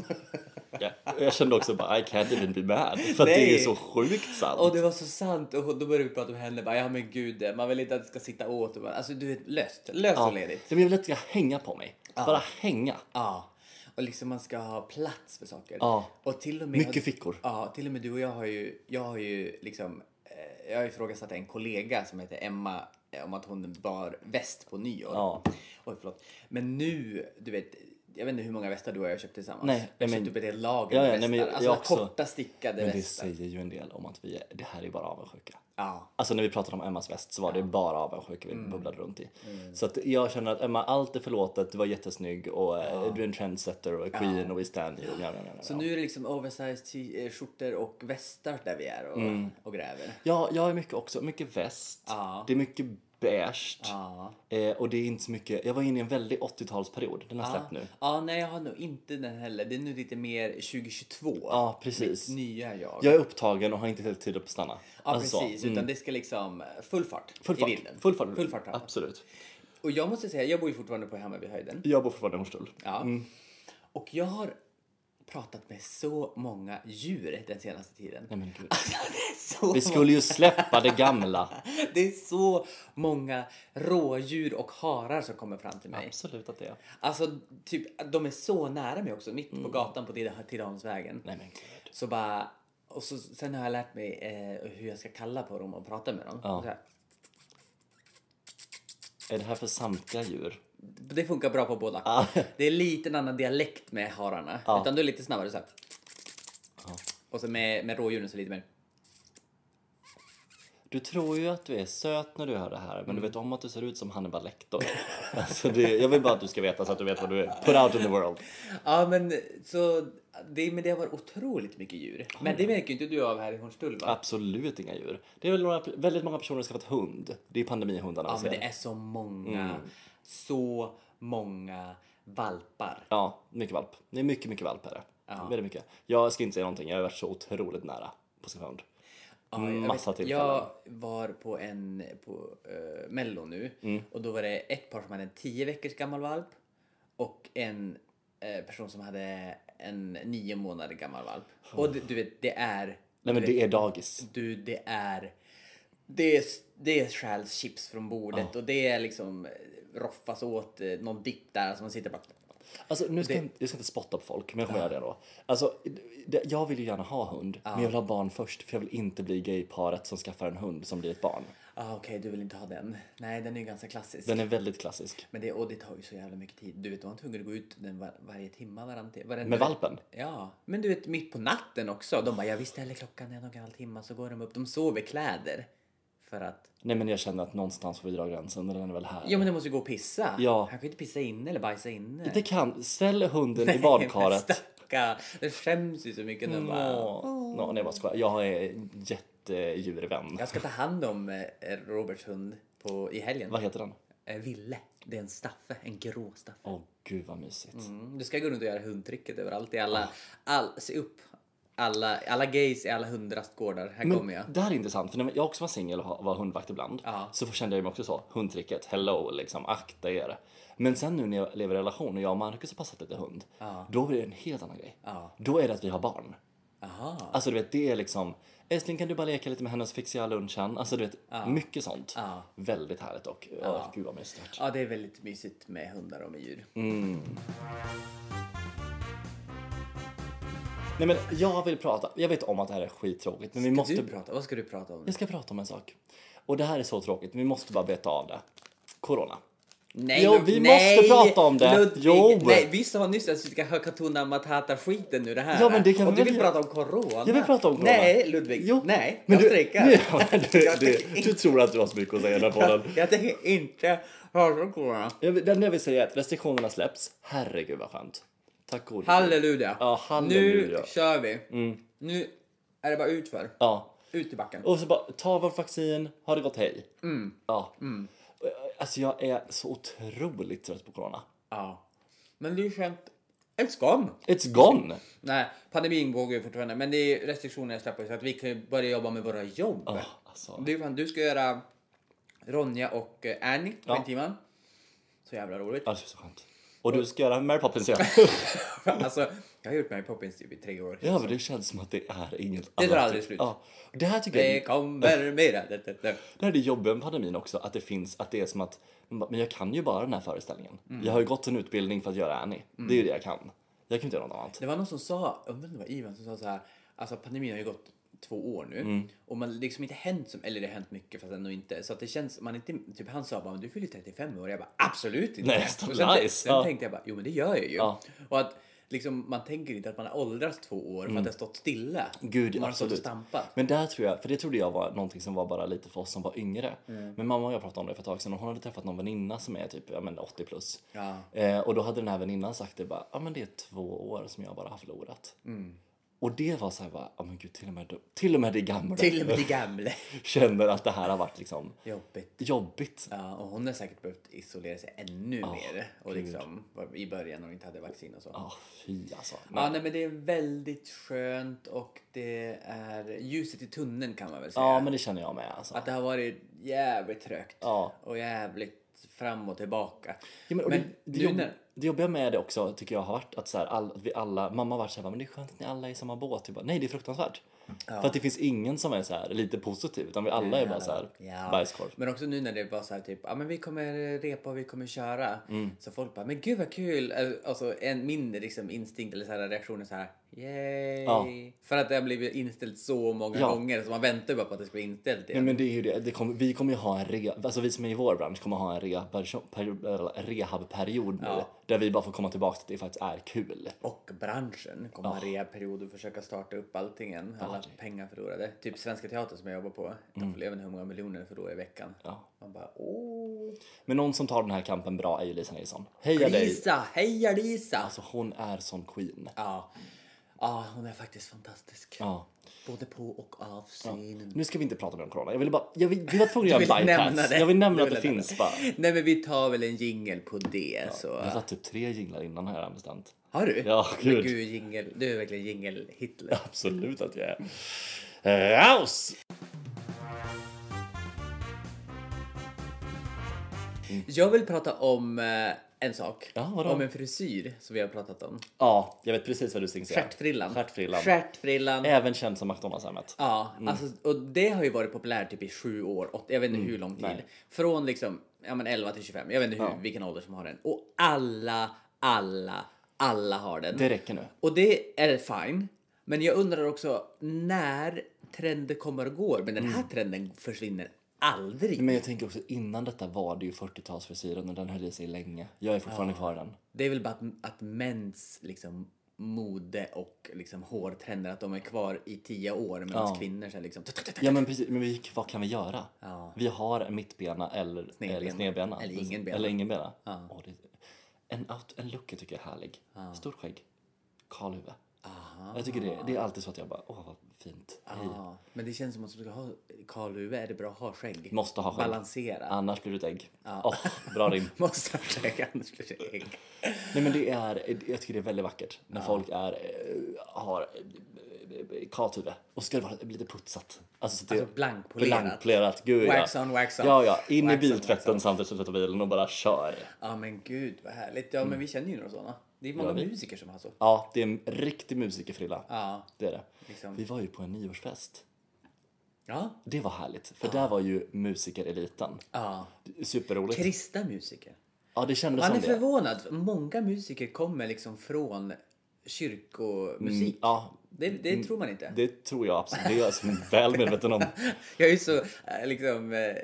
[SPEAKER 2] Ja. Jag kände också bara I can't even be mad. För att
[SPEAKER 1] Nej.
[SPEAKER 2] det är så sjukt sant.
[SPEAKER 1] Och det var så sant och då började vi prata om henne bara, ja men gud, eh, man vill inte att det ska sitta åt och bara, alltså du vet löst, löst
[SPEAKER 2] ja.
[SPEAKER 1] och ledigt.
[SPEAKER 2] Men jag vill att jag ska hänga på mig. Bara hänga.
[SPEAKER 1] Ja. Och liksom man ska ha plats för saker.
[SPEAKER 2] Ja.
[SPEAKER 1] Och till och med,
[SPEAKER 2] Mycket fickor.
[SPEAKER 1] Ja, till och med du och jag har ju, jag har ju liksom, eh, jag har ifrågasatt en kollega som heter Emma eh, om att hon bar väst på nyår.
[SPEAKER 2] Ja.
[SPEAKER 1] Oj, förlåt. Men nu, du vet, jag vet inte hur många västar du och jag köpt tillsammans.
[SPEAKER 2] Nej,
[SPEAKER 1] jag
[SPEAKER 2] nej,
[SPEAKER 1] köpte
[SPEAKER 2] men-
[SPEAKER 1] upp ett helt lager
[SPEAKER 2] Ja,
[SPEAKER 1] med västar.
[SPEAKER 2] ja, nej, men jag-
[SPEAKER 1] alltså
[SPEAKER 2] jag också.
[SPEAKER 1] korta stickade
[SPEAKER 2] Men det
[SPEAKER 1] västar.
[SPEAKER 2] säger ju en del om att vi, det här är bara avundsjuka.
[SPEAKER 1] Ja.
[SPEAKER 2] Alltså när vi pratade om Emmas väst så var det bara avundsjuka vi
[SPEAKER 1] Mm.
[SPEAKER 2] bubblade runt i. Så att jag känner att Emma, allt är förlåtet, du var jättesnygg och eh, du är en trendsetter och queen och we stand you. Ja, ja, ja, ja.
[SPEAKER 1] Så nu är det liksom oversized t- eh, skjortor och västar där vi är och,
[SPEAKER 2] Mm.
[SPEAKER 1] och gräver.
[SPEAKER 2] ja, jag är mycket också, mycket väst,
[SPEAKER 1] Ja.
[SPEAKER 2] det är mycket beige
[SPEAKER 1] Ja.
[SPEAKER 2] eh, och det är inte så mycket, jag var inne i en väldigt 80-talsperiod, den har släppt
[SPEAKER 1] Ja,
[SPEAKER 2] nu.
[SPEAKER 1] ja, nej jag har nog inte den heller. Det är nu lite mer 2022.
[SPEAKER 2] Ja, precis.
[SPEAKER 1] Nya jag.
[SPEAKER 2] Jag är upptagen och har inte helt tid att stanna.
[SPEAKER 1] ja,
[SPEAKER 2] Alltså,
[SPEAKER 1] precis. Utan det ska liksom eh, full fart,
[SPEAKER 2] Full
[SPEAKER 1] i
[SPEAKER 2] fart,
[SPEAKER 1] vinden.
[SPEAKER 2] full fart,
[SPEAKER 1] Full fart framåt.
[SPEAKER 2] absolut.
[SPEAKER 1] Och jag måste säga, jag bor ju fortfarande på Hammarbyhöjden.
[SPEAKER 2] Jag bor fortfarande i Hornstull.
[SPEAKER 1] Ja. Och jag har pratat med så många djur den senaste tiden.
[SPEAKER 2] Nej men gud.
[SPEAKER 1] Alltså, det, är så
[SPEAKER 2] Vi skulle ju släppa det gamla.
[SPEAKER 1] många, det är så många rådjur och harar som kommer fram till mig.
[SPEAKER 2] Absolut att det är.
[SPEAKER 1] Alltså, typ, de är så nära mig också, mitt på gatan på Tidah- Tidaholmsvägen.
[SPEAKER 2] Nej men gud.
[SPEAKER 1] Så bara, och så, sen har jag lärt mig eh, hur jag ska kalla på dem och prata med dem.
[SPEAKER 2] Ja.
[SPEAKER 1] Så här.
[SPEAKER 2] Är det här för samtliga djur?
[SPEAKER 1] Det funkar bra på båda.
[SPEAKER 2] Ja.
[SPEAKER 1] Det är lite en annan dialekt med hararna.
[SPEAKER 2] Ja.
[SPEAKER 1] Utan du är lite snabbare så här.
[SPEAKER 2] Ja.
[SPEAKER 1] Och så med, med rådjuren så lite mer.
[SPEAKER 2] Du tror ju att du är söt när du hör det här, men
[SPEAKER 1] Mm.
[SPEAKER 2] du vet om att du ser ut som Hannibal Lecter. alltså det, jag vill bara att du ska veta så att du vet vad du är. Put out in the world.
[SPEAKER 1] Ja men så, det, men det har varit otroligt mycket djur. Men det märker ju inte du av här i Hornstull va?
[SPEAKER 2] Absolut inga dur. Det är väl några, väldigt många personer som har skaffat hund. Det är pandemihundarna.
[SPEAKER 1] ja men
[SPEAKER 2] vi ser. Mm.
[SPEAKER 1] det är så många, så många valpar.
[SPEAKER 2] ja, mycket valp. Det är mycket, mycket valp är det. Väldigt mycket. Jag ska inte säga någonting, jag har varit så otroligt nära på sin hund.
[SPEAKER 1] Ja, jag
[SPEAKER 2] Mm, Massa
[SPEAKER 1] vet.
[SPEAKER 2] tillfällen.
[SPEAKER 1] Jag var på en på eh, mello nu
[SPEAKER 2] Mm.
[SPEAKER 1] och då var det ett par som hade en 10 veckors gammal valp och en eh, person som hade en 9 månader gammal valp. Och det, du vet, det är...
[SPEAKER 2] Nej men det är dagis.
[SPEAKER 1] Du, det är... Det är, det är stjäls chips från bordet och det är liksom eh, roffas åt eh, någon dipp där som man sitter bara...
[SPEAKER 2] Alltså, nu ska jag, jag ska inte spotta på folk, men jag kommer göra det då. Alltså, det, jag vill ju gärna ha hund, men jag vill ha barn först för jag vill inte bli gayparet som skaffar en hund som blir ett barn.
[SPEAKER 1] Ah, Okej, du vill inte ha den. Nej, den är ju ganska klassisk.
[SPEAKER 2] Den är väldigt klassisk.
[SPEAKER 1] Men det, och det tar ju så jävla mycket tid. Du vet, man var tvungen att gå ut den var, varje timma varann till. varenda-
[SPEAKER 2] Med valpen?
[SPEAKER 1] Ja, men du vet mitt på natten också. De bara, ja vi ställer klockan en och en halv timme så går de upp. De sover i kläder. För att,
[SPEAKER 2] Nej men jag känner att någonstans får vi dra gränsen och den är väl här.
[SPEAKER 1] ja men de måste ju gå och pissa.
[SPEAKER 2] Ja.
[SPEAKER 1] Han kan ju inte pissa inne eller bajsa inne.
[SPEAKER 2] Det kan, ställ hunden i
[SPEAKER 1] Men
[SPEAKER 2] badkaret. Mm.
[SPEAKER 1] stackarn, Den skäms ju så mycket. Den bara,
[SPEAKER 2] Nå, nå, nej jag bara skojar. Jag är en jättedjurvän.
[SPEAKER 1] jag ska ta hand om eh, Roberts hund på, i helgen.
[SPEAKER 2] Vad heter den?
[SPEAKER 1] Eh, Ville. Det är en staffe, en grå staffe.
[SPEAKER 2] Åh gud vad mysigt.
[SPEAKER 1] Mm, Du ska gå runt och göra hundtricket överallt i alla, all, se upp. Alla, alla gays i alla hundrastgårdar, här kommer jag.
[SPEAKER 2] Det här är intressant, för när jag också var singel och ha- var hundvakt ibland
[SPEAKER 1] Ja.
[SPEAKER 2] så kände jag mig också så, hundtricket, hello, liksom, akta er. Men sen nu när jag lever i relation och jag och Marcus har passat lite hund,
[SPEAKER 1] Ja.
[SPEAKER 2] då blir det en helt annan grej.
[SPEAKER 1] Ja.
[SPEAKER 2] Då är det att vi har barn.
[SPEAKER 1] Aha.
[SPEAKER 2] Alltså du vet, det är liksom, älskling kan du bara leka lite med henne så fixar jag lunchen. Alltså du vet, mycket sånt.
[SPEAKER 1] Ja.
[SPEAKER 2] Väldigt härligt och, ja. gud vad mysigt.
[SPEAKER 1] Ja, det är väldigt mysigt med hundar och med djur.
[SPEAKER 2] Nej men jag vill prata, jag vet om att det här är skittråkigt men vi måste
[SPEAKER 1] Du prata, vad ska du prata om?
[SPEAKER 2] Jag ska prata om en sak. Och det här är så tråkigt, men vi måste bara beta av det. Corona.
[SPEAKER 1] Nej,
[SPEAKER 2] Jo,
[SPEAKER 1] Lud-
[SPEAKER 2] vi måste prata om det.
[SPEAKER 1] Ludvig,
[SPEAKER 2] Jo.
[SPEAKER 1] Nej, vi sa nyss att vi ska ha Katuna Matata-skiten nu det här.
[SPEAKER 2] Ja, men det kan
[SPEAKER 1] och
[SPEAKER 2] vi
[SPEAKER 1] du
[SPEAKER 2] väl
[SPEAKER 1] vill
[SPEAKER 2] göra.
[SPEAKER 1] prata om corona.
[SPEAKER 2] Jag vill prata om corona.
[SPEAKER 1] Nej, Ludvig.
[SPEAKER 2] Jo.
[SPEAKER 1] Nej,
[SPEAKER 2] Men
[SPEAKER 1] jag
[SPEAKER 2] du,
[SPEAKER 1] strejkar.
[SPEAKER 2] nu- du,
[SPEAKER 1] Jag
[SPEAKER 2] du,
[SPEAKER 1] tänker
[SPEAKER 2] du tror att du har så mycket att säga i den här podden.
[SPEAKER 1] Jag tänker inte prata om corona.
[SPEAKER 2] Jag vill- Det enda jag vill säga är att restriktionerna släpps. Herregud vad skönt. Tack gode Gud.
[SPEAKER 1] Halleluja.
[SPEAKER 2] Ja, halleluja. Mm.
[SPEAKER 1] Nu kör vi. Nu är det bara utför.
[SPEAKER 2] Ja.
[SPEAKER 1] Ut i backen.
[SPEAKER 2] Och så bara, ta vårt vaccin, har det gått hej.
[SPEAKER 1] Mm.
[SPEAKER 2] Ja. Alltså jag är så otroligt trött på corona.
[SPEAKER 1] Ja. Men det är ju skönt. It's gone.
[SPEAKER 2] It's gone!
[SPEAKER 1] Nej, pandemin pågår ju fortfarande, men det är restriktioner släpper så att vi kan ju börja jobba med våra jobb.
[SPEAKER 2] Ah, alltså.
[SPEAKER 1] Du, fan, du ska göra Ronja och eh, Annie på
[SPEAKER 2] Ja.
[SPEAKER 1] en timma. Så jävla roligt.
[SPEAKER 2] Ja, det är så skönt. Och du ska göra Mary Poppins igen.
[SPEAKER 1] alltså, jag har gjort Mary Poppins typ i tre år.
[SPEAKER 2] ja, men det känns som att det är inget
[SPEAKER 1] tar
[SPEAKER 2] annat.
[SPEAKER 1] aldrig slut.
[SPEAKER 2] Ja. Det här tycker jag
[SPEAKER 1] Det kommer mera. Det, det, det.
[SPEAKER 2] Det här är det jobbiga med pandemin också, att det finns, att det är som att man bara, men jag kan ju bara den här föreställningen.
[SPEAKER 1] Mm.
[SPEAKER 2] Jag har ju gått en utbildning för att göra Annie. Det är ju det jag kan. Jag kan inte göra något annat.
[SPEAKER 1] det var någon som sa, jag undrar om det var Ivan som sa så här, alltså pandemin har ju gått två år nu
[SPEAKER 2] Mm.
[SPEAKER 1] och man liksom inte hänt som, eller det har hänt mycket fast ändå inte. Så att det känns, man inte, typ han sa bara, men du fyller ju 35 år. Jag bara, absolut inte.
[SPEAKER 2] Nej, stop
[SPEAKER 1] och sen,
[SPEAKER 2] lies.
[SPEAKER 1] sen
[SPEAKER 2] Ja.
[SPEAKER 1] tänkte jag bara, jo men det gör jag ju.
[SPEAKER 2] Ja.
[SPEAKER 1] Och att liksom, man tänker inte att man har åldrats två år för att det har stått stilla.
[SPEAKER 2] Mm. Gud,
[SPEAKER 1] man har stått och
[SPEAKER 2] absolut.
[SPEAKER 1] stampat.
[SPEAKER 2] Men där tror jag, för det trodde jag var någonting som var bara lite för oss som var yngre.
[SPEAKER 1] Mm.
[SPEAKER 2] Men mamma och jag pratade om det för ett tag sedan och hon hade träffat någon väninna som är typ ja, men 80 plus.
[SPEAKER 1] Ja.
[SPEAKER 2] Eh, och då hade den här väninnan sagt det bara, ja men det är två år som jag bara har förlorat.
[SPEAKER 1] Mm.
[SPEAKER 2] Och det var så här bara, ja men gud till och med, de- till och med det gamla
[SPEAKER 1] Till och med det gamla.
[SPEAKER 2] känner att det här har varit liksom
[SPEAKER 1] Jobbigt.
[SPEAKER 2] jobbigt.
[SPEAKER 1] Ja, och hon har säkert behövt isolera sig ännu mer och liksom, var- i början när hon inte hade vaccin och så.
[SPEAKER 2] Ja, fy alltså.
[SPEAKER 1] Ja, nej, men det är väldigt skönt och det är ljuset i tunneln kan man väl säga.
[SPEAKER 2] Ja, men det känner jag med alltså.
[SPEAKER 1] Att det har varit jävligt trögt
[SPEAKER 2] Ja.
[SPEAKER 1] och jävligt fram och tillbaka.
[SPEAKER 2] Ja, men, och
[SPEAKER 1] Men
[SPEAKER 2] det, det,
[SPEAKER 1] nu
[SPEAKER 2] jobb,
[SPEAKER 1] när-
[SPEAKER 2] det jobbiga med det också tycker jag har varit att så här, all, att vi alla, mamma har varit så här, men det är skönt att ni alla är i samma båt. Jag bara, Nej, det är fruktansvärt. För att det finns ingen som är så här lite positiv utan vi alla är bara så här
[SPEAKER 1] Ja.
[SPEAKER 2] bajskorv.
[SPEAKER 1] Men också nu när det var så här typ, ja ah, men vi kommer repa och vi kommer köra.
[SPEAKER 2] Mm.
[SPEAKER 1] Så folk bara, men gud vad kul! Eh, Alltså en, min liksom instinkt eller så här reaktion är så här, yay!
[SPEAKER 2] Ja.
[SPEAKER 1] För att det har blivit inställt så många
[SPEAKER 2] Ja. Mm.
[SPEAKER 1] gånger så man väntar bara på att det ska bli inställt
[SPEAKER 2] Nej
[SPEAKER 1] igen.
[SPEAKER 2] men det är ju det, det kommer, vi kommer ju ha en re, alltså vi som är i vår bransch kommer ha en rehabperiod per, rehabperiod nu.
[SPEAKER 1] Ja.
[SPEAKER 2] Där vi bara får komma tillbaka till att det faktiskt är kul.
[SPEAKER 1] Och branschen kommer
[SPEAKER 2] Ah.
[SPEAKER 1] ha reaperiod och försöka starta upp allting igen. Alla pengar förlorade. Typ Svenska Teatern som jag jobbar på,
[SPEAKER 2] Mm.
[SPEAKER 1] de får leva med hur många miljoner de förlorar i veckan.
[SPEAKER 2] Ja.
[SPEAKER 1] Man bara, åh!
[SPEAKER 2] Men någon som tar den här kampen bra är ju Lisa Nilsson. Heja dig!
[SPEAKER 1] Lisa! Heja Lisa!
[SPEAKER 2] Alltså hon är sån queen.
[SPEAKER 1] Ja. ja, hon är faktiskt fantastisk.
[SPEAKER 2] Ja.
[SPEAKER 1] Både på och av scenen.
[SPEAKER 2] Nu ska vi inte prata mer om corona. Jag ville bara, jag vill, vi var tvungna att
[SPEAKER 1] vill
[SPEAKER 2] göra en
[SPEAKER 1] nämna
[SPEAKER 2] bypass.
[SPEAKER 1] det.
[SPEAKER 2] Jag vill nämna
[SPEAKER 1] Du
[SPEAKER 2] att det
[SPEAKER 1] vill nämna
[SPEAKER 2] finns bara.
[SPEAKER 1] Nej men vi tar väl en jingel på det så.
[SPEAKER 2] Jag satt typ tre jinglar innan har jag bestämt.
[SPEAKER 1] Har du?
[SPEAKER 2] Ja,
[SPEAKER 1] Men
[SPEAKER 2] gud.
[SPEAKER 1] gud jingel. Du är verkligen jingel-Hitler.
[SPEAKER 2] Absolut att jag är. Eh, Raus!
[SPEAKER 1] Jag vill prata om eh, en sak.
[SPEAKER 2] Ja, vadå?
[SPEAKER 1] Om en frisyr som vi har pratat om.
[SPEAKER 2] Ja, jag vet precis vad du tänkte säga.
[SPEAKER 1] Stjärtfrillan.
[SPEAKER 2] Stjärtfrillan. Eh. Mm.
[SPEAKER 1] Stjärtfrillan.
[SPEAKER 2] Även känd som McDonalds-hemmet.
[SPEAKER 1] Ja, alltså, och det har ju varit populärt typ i sju år, åtta, jag vet inte hur lång tid.
[SPEAKER 2] Mm. nej.
[SPEAKER 1] Från liksom ja, men 11 till 25, jag vet inte hur, vilken ålder som har den. Och alla, alla, alla har den.
[SPEAKER 2] Det räcker nu.
[SPEAKER 1] Och det är fine. Men jag undrar också när trender kommer och går. Men den här trenden försvinner aldrig.
[SPEAKER 2] Mm. Men jag tänker också innan detta var det ju 40-talsfrisyren och den höll i sig länge. Jag är fortfarande kvar i den.
[SPEAKER 1] Det är väl bara att, att mäns liksom, mode och liksom, hårtrender, att de är kvar i tio år medan
[SPEAKER 2] Ja.
[SPEAKER 1] kvinnor så här, liksom...
[SPEAKER 2] Ja men precis, men vi, vad kan vi göra?
[SPEAKER 1] Ja.
[SPEAKER 2] Vi har mittbena eller snedbena.
[SPEAKER 1] Snedbena. Eller
[SPEAKER 2] Eller, snedbena.
[SPEAKER 1] ingen bena.
[SPEAKER 2] Eller ingen bena. Åh, det, en, out, en look jag tycker är härlig. Stort skägg. Kalhuvud.
[SPEAKER 1] Aha.
[SPEAKER 2] Jag tycker det, det är alltid så att jag bara, åh vad fint. Hej.
[SPEAKER 1] Ja, men det känns som att om du ska ha kalhuvud är det bra att ha skägg.
[SPEAKER 2] Måste ha skägg.
[SPEAKER 1] Balansera.
[SPEAKER 2] Annars blir du ett ägg. Åh, bra rim.
[SPEAKER 1] Måste ha skägg, annars blir det ägg.
[SPEAKER 2] Nej men det är, jag tycker det är väldigt vackert när folk är, eh, har eh, kalhuvud och så ska det vara lite putsat. Alltså, så att det
[SPEAKER 1] Alltså blankpolerat.
[SPEAKER 2] blankpolerat. Gud,
[SPEAKER 1] Wax
[SPEAKER 2] ja.
[SPEAKER 1] on, wax off.
[SPEAKER 2] Ja, ja. In
[SPEAKER 1] Wax on,
[SPEAKER 2] i biltvätten samtidigt som du tvättar bilen och bara kör.
[SPEAKER 1] Ja men gud vad härligt. Ja men vi känner ju några sådana. Det är många
[SPEAKER 2] Mm. vi.
[SPEAKER 1] musiker som har så.
[SPEAKER 2] Ja, det är en riktig musikerfrilla.
[SPEAKER 1] Ja.
[SPEAKER 2] Det är det.
[SPEAKER 1] Liksom.
[SPEAKER 2] Vi var ju på en nyårsfest.
[SPEAKER 1] Ja.
[SPEAKER 2] Det var härligt, för där var ju musikereliten.
[SPEAKER 1] ja.
[SPEAKER 2] Superroligt.
[SPEAKER 1] Kristna musiker.
[SPEAKER 2] Ja, det kändes
[SPEAKER 1] Man är
[SPEAKER 2] som det. Mm,
[SPEAKER 1] förvånad. Många musiker kommer liksom från kyrkomusik.
[SPEAKER 2] Ja,
[SPEAKER 1] Det,
[SPEAKER 2] Mm.
[SPEAKER 1] det tror man inte.
[SPEAKER 2] det tror jag absolut. Det är jag som är väl medveten om.
[SPEAKER 1] Jag är ju så eh, liksom, eh,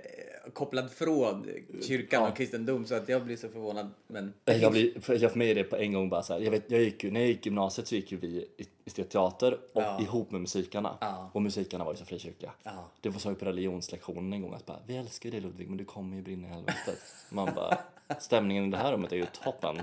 [SPEAKER 1] kopplad från kyrkan och kristendom så att jag blir så förvånad. Men
[SPEAKER 2] Nej, Jag, blir, för jag för mig är det på en gång bara så här, jag vet, jag gick ju, när jag gick gymnasiet så gick ju vi i, i teater och ihop med musikarna. Och musikarna var ju så frikyrkliga.
[SPEAKER 1] Ja.
[SPEAKER 2] Det var så ju på religionslektionen en gång att bara, vi älskar dig Ludvig men du kommer ju brinna i helvetet. Man bara, stämningen i det här rummet är ju toppen.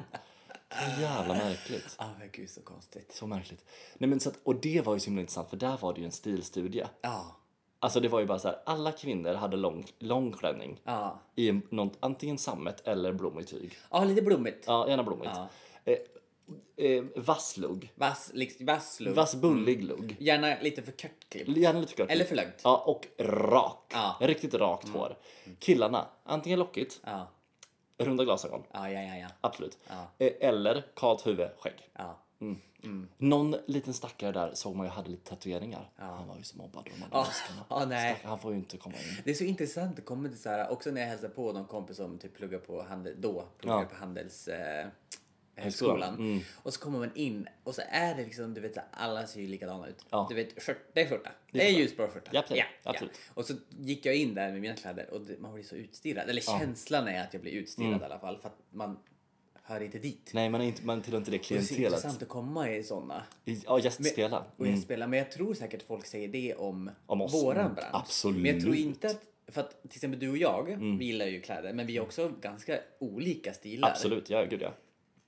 [SPEAKER 2] Så jävla märkligt.
[SPEAKER 1] ah, men gud så konstigt.
[SPEAKER 2] Så märkligt. Nej, men så att, och det var ju så himla intressant för där var det ju en stilstudie.
[SPEAKER 1] Ja.
[SPEAKER 2] Alltså det var ju bara så här, alla kvinnor hade lång, lång klänning.
[SPEAKER 1] Ja.
[SPEAKER 2] I en- något, antingen sammet eller blommigt tyg.
[SPEAKER 1] Ja, lite blommigt.
[SPEAKER 2] Ja, gärna blommigt. Eh, eh, vass lugg.
[SPEAKER 1] Vass, liksom, vass lugg.
[SPEAKER 2] Vass bullig lugg.
[SPEAKER 1] Gärna lite för kort klipp.
[SPEAKER 2] Gärna lite kort.
[SPEAKER 1] Mm. Eller för långt.
[SPEAKER 2] Ja, och rak.
[SPEAKER 1] Ja. Mm.
[SPEAKER 2] Riktigt rakt hår. Killarna, antingen lockigt,
[SPEAKER 1] Ja.
[SPEAKER 2] runda glasögon.
[SPEAKER 1] Ja, ja, ja, ja.
[SPEAKER 2] Absolut.
[SPEAKER 1] Ja.
[SPEAKER 2] Eh, Eller kalt huvud, skägg.
[SPEAKER 1] ja.
[SPEAKER 2] Någon liten stackare där såg man ju hade lite tatueringar. Han var ju så mobbad. av De andra maskarna.
[SPEAKER 1] ja, nej.
[SPEAKER 2] Stack- Han får ju inte komma in.
[SPEAKER 1] Det är så intressant att komma till så här, också när jag hälsar på någon kompis som typ pluggar på handel, då pluggar
[SPEAKER 2] Ja.
[SPEAKER 1] på handels... Eh, Högskolan. Och så kommer man in och så är det liksom, du vet, så här, alla ser ju likadana ut.
[SPEAKER 2] Ja.
[SPEAKER 1] Du vet, skört, det är skjorta. Det är ljusblå skjorta.
[SPEAKER 2] Japp, det är det. Absolut.
[SPEAKER 1] Och så gick jag in där med mina kläder och det, man blir så utstirrad. Eller känslan är att jag blir utstirrad i alla fall för att man hör inte dit.
[SPEAKER 2] Nej, man, är inte, man tillhör inte det
[SPEAKER 1] det är så
[SPEAKER 2] klientelet.
[SPEAKER 1] intressant att komma i sådana.
[SPEAKER 2] I- Ja, gästspela.
[SPEAKER 1] Och jag spelar, men jag tror säkert folk säger det om,
[SPEAKER 2] Mm. Om oss.
[SPEAKER 1] våran
[SPEAKER 2] Mm,
[SPEAKER 1] bransch.
[SPEAKER 2] absolut. Mm.
[SPEAKER 1] Men jag tror inte att, för att till exempel du och jag, vi gillar ju kläder, men vi är också ganska olika stilar.
[SPEAKER 2] Absolut, ja gud ja.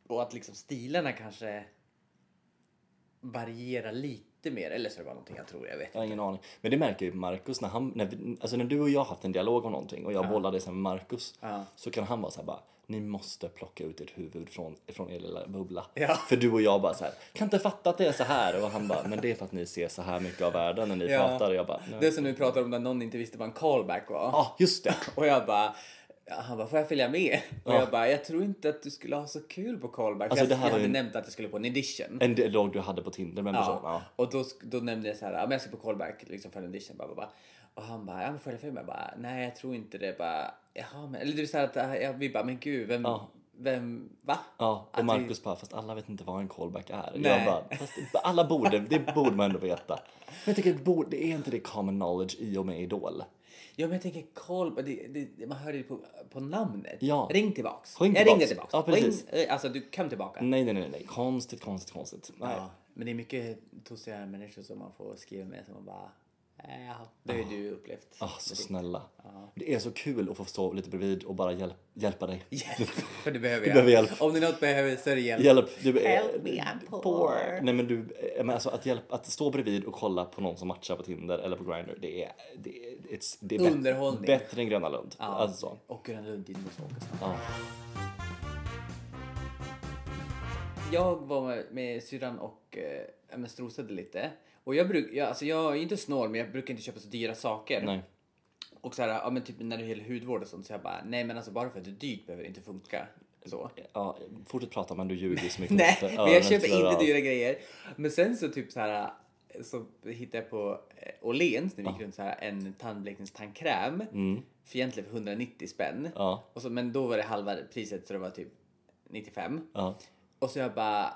[SPEAKER 1] Och att liksom stilarna kanske varierar lite mer, eller så är det bara någonting jag tror, jag vet.
[SPEAKER 2] Jag har ingen aning. Men det märker jag ju på Marcus när han, när, vi- alltså när du och jag har haft en dialog om någonting och jag bollar det sen med Marcus.
[SPEAKER 1] Ja.
[SPEAKER 2] Så kan han vara så här bara, ni måste plocka ut ert huvud från, från er lilla bubbla.
[SPEAKER 1] Ja.
[SPEAKER 2] För du och jag bara så här, kan inte fatta att det är så här. Och han bara, men det är för att ni ser så här mycket av världen när ni
[SPEAKER 1] Ja.
[SPEAKER 2] pratar. Och jag bara,
[SPEAKER 1] Det
[SPEAKER 2] nej.
[SPEAKER 1] som du pratar om när någon inte visste vad en callback var.
[SPEAKER 2] Ja, ah, just det.
[SPEAKER 1] Och jag bara, Ja, han bara, får jag följa med? Och
[SPEAKER 2] Ja.
[SPEAKER 1] jag bara, jag tror inte att du skulle ha så kul på callback.
[SPEAKER 2] Alltså,
[SPEAKER 1] jag,
[SPEAKER 2] det här
[SPEAKER 1] jag
[SPEAKER 2] var ju
[SPEAKER 1] hade
[SPEAKER 2] en-
[SPEAKER 1] nämnt att jag skulle på en edition.
[SPEAKER 2] En dialog du hade på Tinder med en person. Ja.
[SPEAKER 1] Ja. Och då, sk- då nämnde jag så här, ja, men jag ska på callback liksom för en audition. Bara, bara, bara. Och han bara, ja men följa med? Jag bara, nej jag tror inte det. Bara, Jaha, men... Eller det vill säga att äh, jag- vi bara, men gud, vem,
[SPEAKER 2] Ja.
[SPEAKER 1] vem, va?
[SPEAKER 2] Ja, och
[SPEAKER 1] Att
[SPEAKER 2] Marcus bara, fast alla vet inte vad en callback är. Jag
[SPEAKER 1] Nej.
[SPEAKER 2] bara, fast alla borde, det borde man ändå veta. Men jag tycker, det borde- det är inte det common knowledge i och med Idol?
[SPEAKER 1] Ja men jag tänker callback, det, det, man hör det på, på namnet.
[SPEAKER 2] Ja.
[SPEAKER 1] Ring tillbaks.
[SPEAKER 2] Ring
[SPEAKER 1] Jag ringde
[SPEAKER 2] tillbaks.
[SPEAKER 1] tillbaks.
[SPEAKER 2] Ja, precis. Mm.
[SPEAKER 1] Ring, eh, alltså du kom tillbaka.
[SPEAKER 2] Nej, nej, nej, nej, konstigt, konstigt, konstigt. Nej.
[SPEAKER 1] Ja, men det är mycket tossiga människor som man får skriva med som man bara, "Äh, ja, det har ju du upplevt.
[SPEAKER 2] Ah, så snälla. Det är så kul att få stå lite bredvid och bara hjälp, hjälpa dig.
[SPEAKER 1] Hjälp, för det behöver jag.
[SPEAKER 2] behöver hjälp.
[SPEAKER 1] Om det är något behöver så är det hjälp.
[SPEAKER 2] Hjälp, du är...
[SPEAKER 3] Help me, I'm poor.
[SPEAKER 2] Nej men du, eh, men alltså att, hjälpa, att stå bredvid och kolla på någon som matchar på Tinder eller på Grindr, det är, det är, it's, det är bättre-
[SPEAKER 1] Underhållning.
[SPEAKER 2] bättre än Gröna Lund. Alltså.
[SPEAKER 1] Och Gröna Lund, dit måste jag åka snart.
[SPEAKER 2] Ja.
[SPEAKER 1] Jag var med, med syrran och eh, ja, men strosade lite. Och jag, bruk, jag, alltså jag är inte snål men jag brukar inte köpa så dyra saker.
[SPEAKER 2] Nej.
[SPEAKER 1] Och så här, ja, men typ när det gäller hudvård och sånt så jag bara, nej men alltså bara för att det är dyrt behöver det inte funka. Så.
[SPEAKER 2] Ja, fortsätt prata men du ljuger så mycket.
[SPEAKER 1] Nej,
[SPEAKER 2] Måste
[SPEAKER 1] men
[SPEAKER 2] öronen
[SPEAKER 1] jag köper
[SPEAKER 2] trillar av.
[SPEAKER 1] inte dyra grejer. Men sen så typ så här så hittade jag på eh, Åhléns när vi gick runt så här en tandblekningstandkräm. För egentligen för 190 spänn.
[SPEAKER 2] Mm. Ja.
[SPEAKER 1] Och så, men då var det halva priset så det var typ 95.
[SPEAKER 2] Ja.
[SPEAKER 1] Och så jag bara,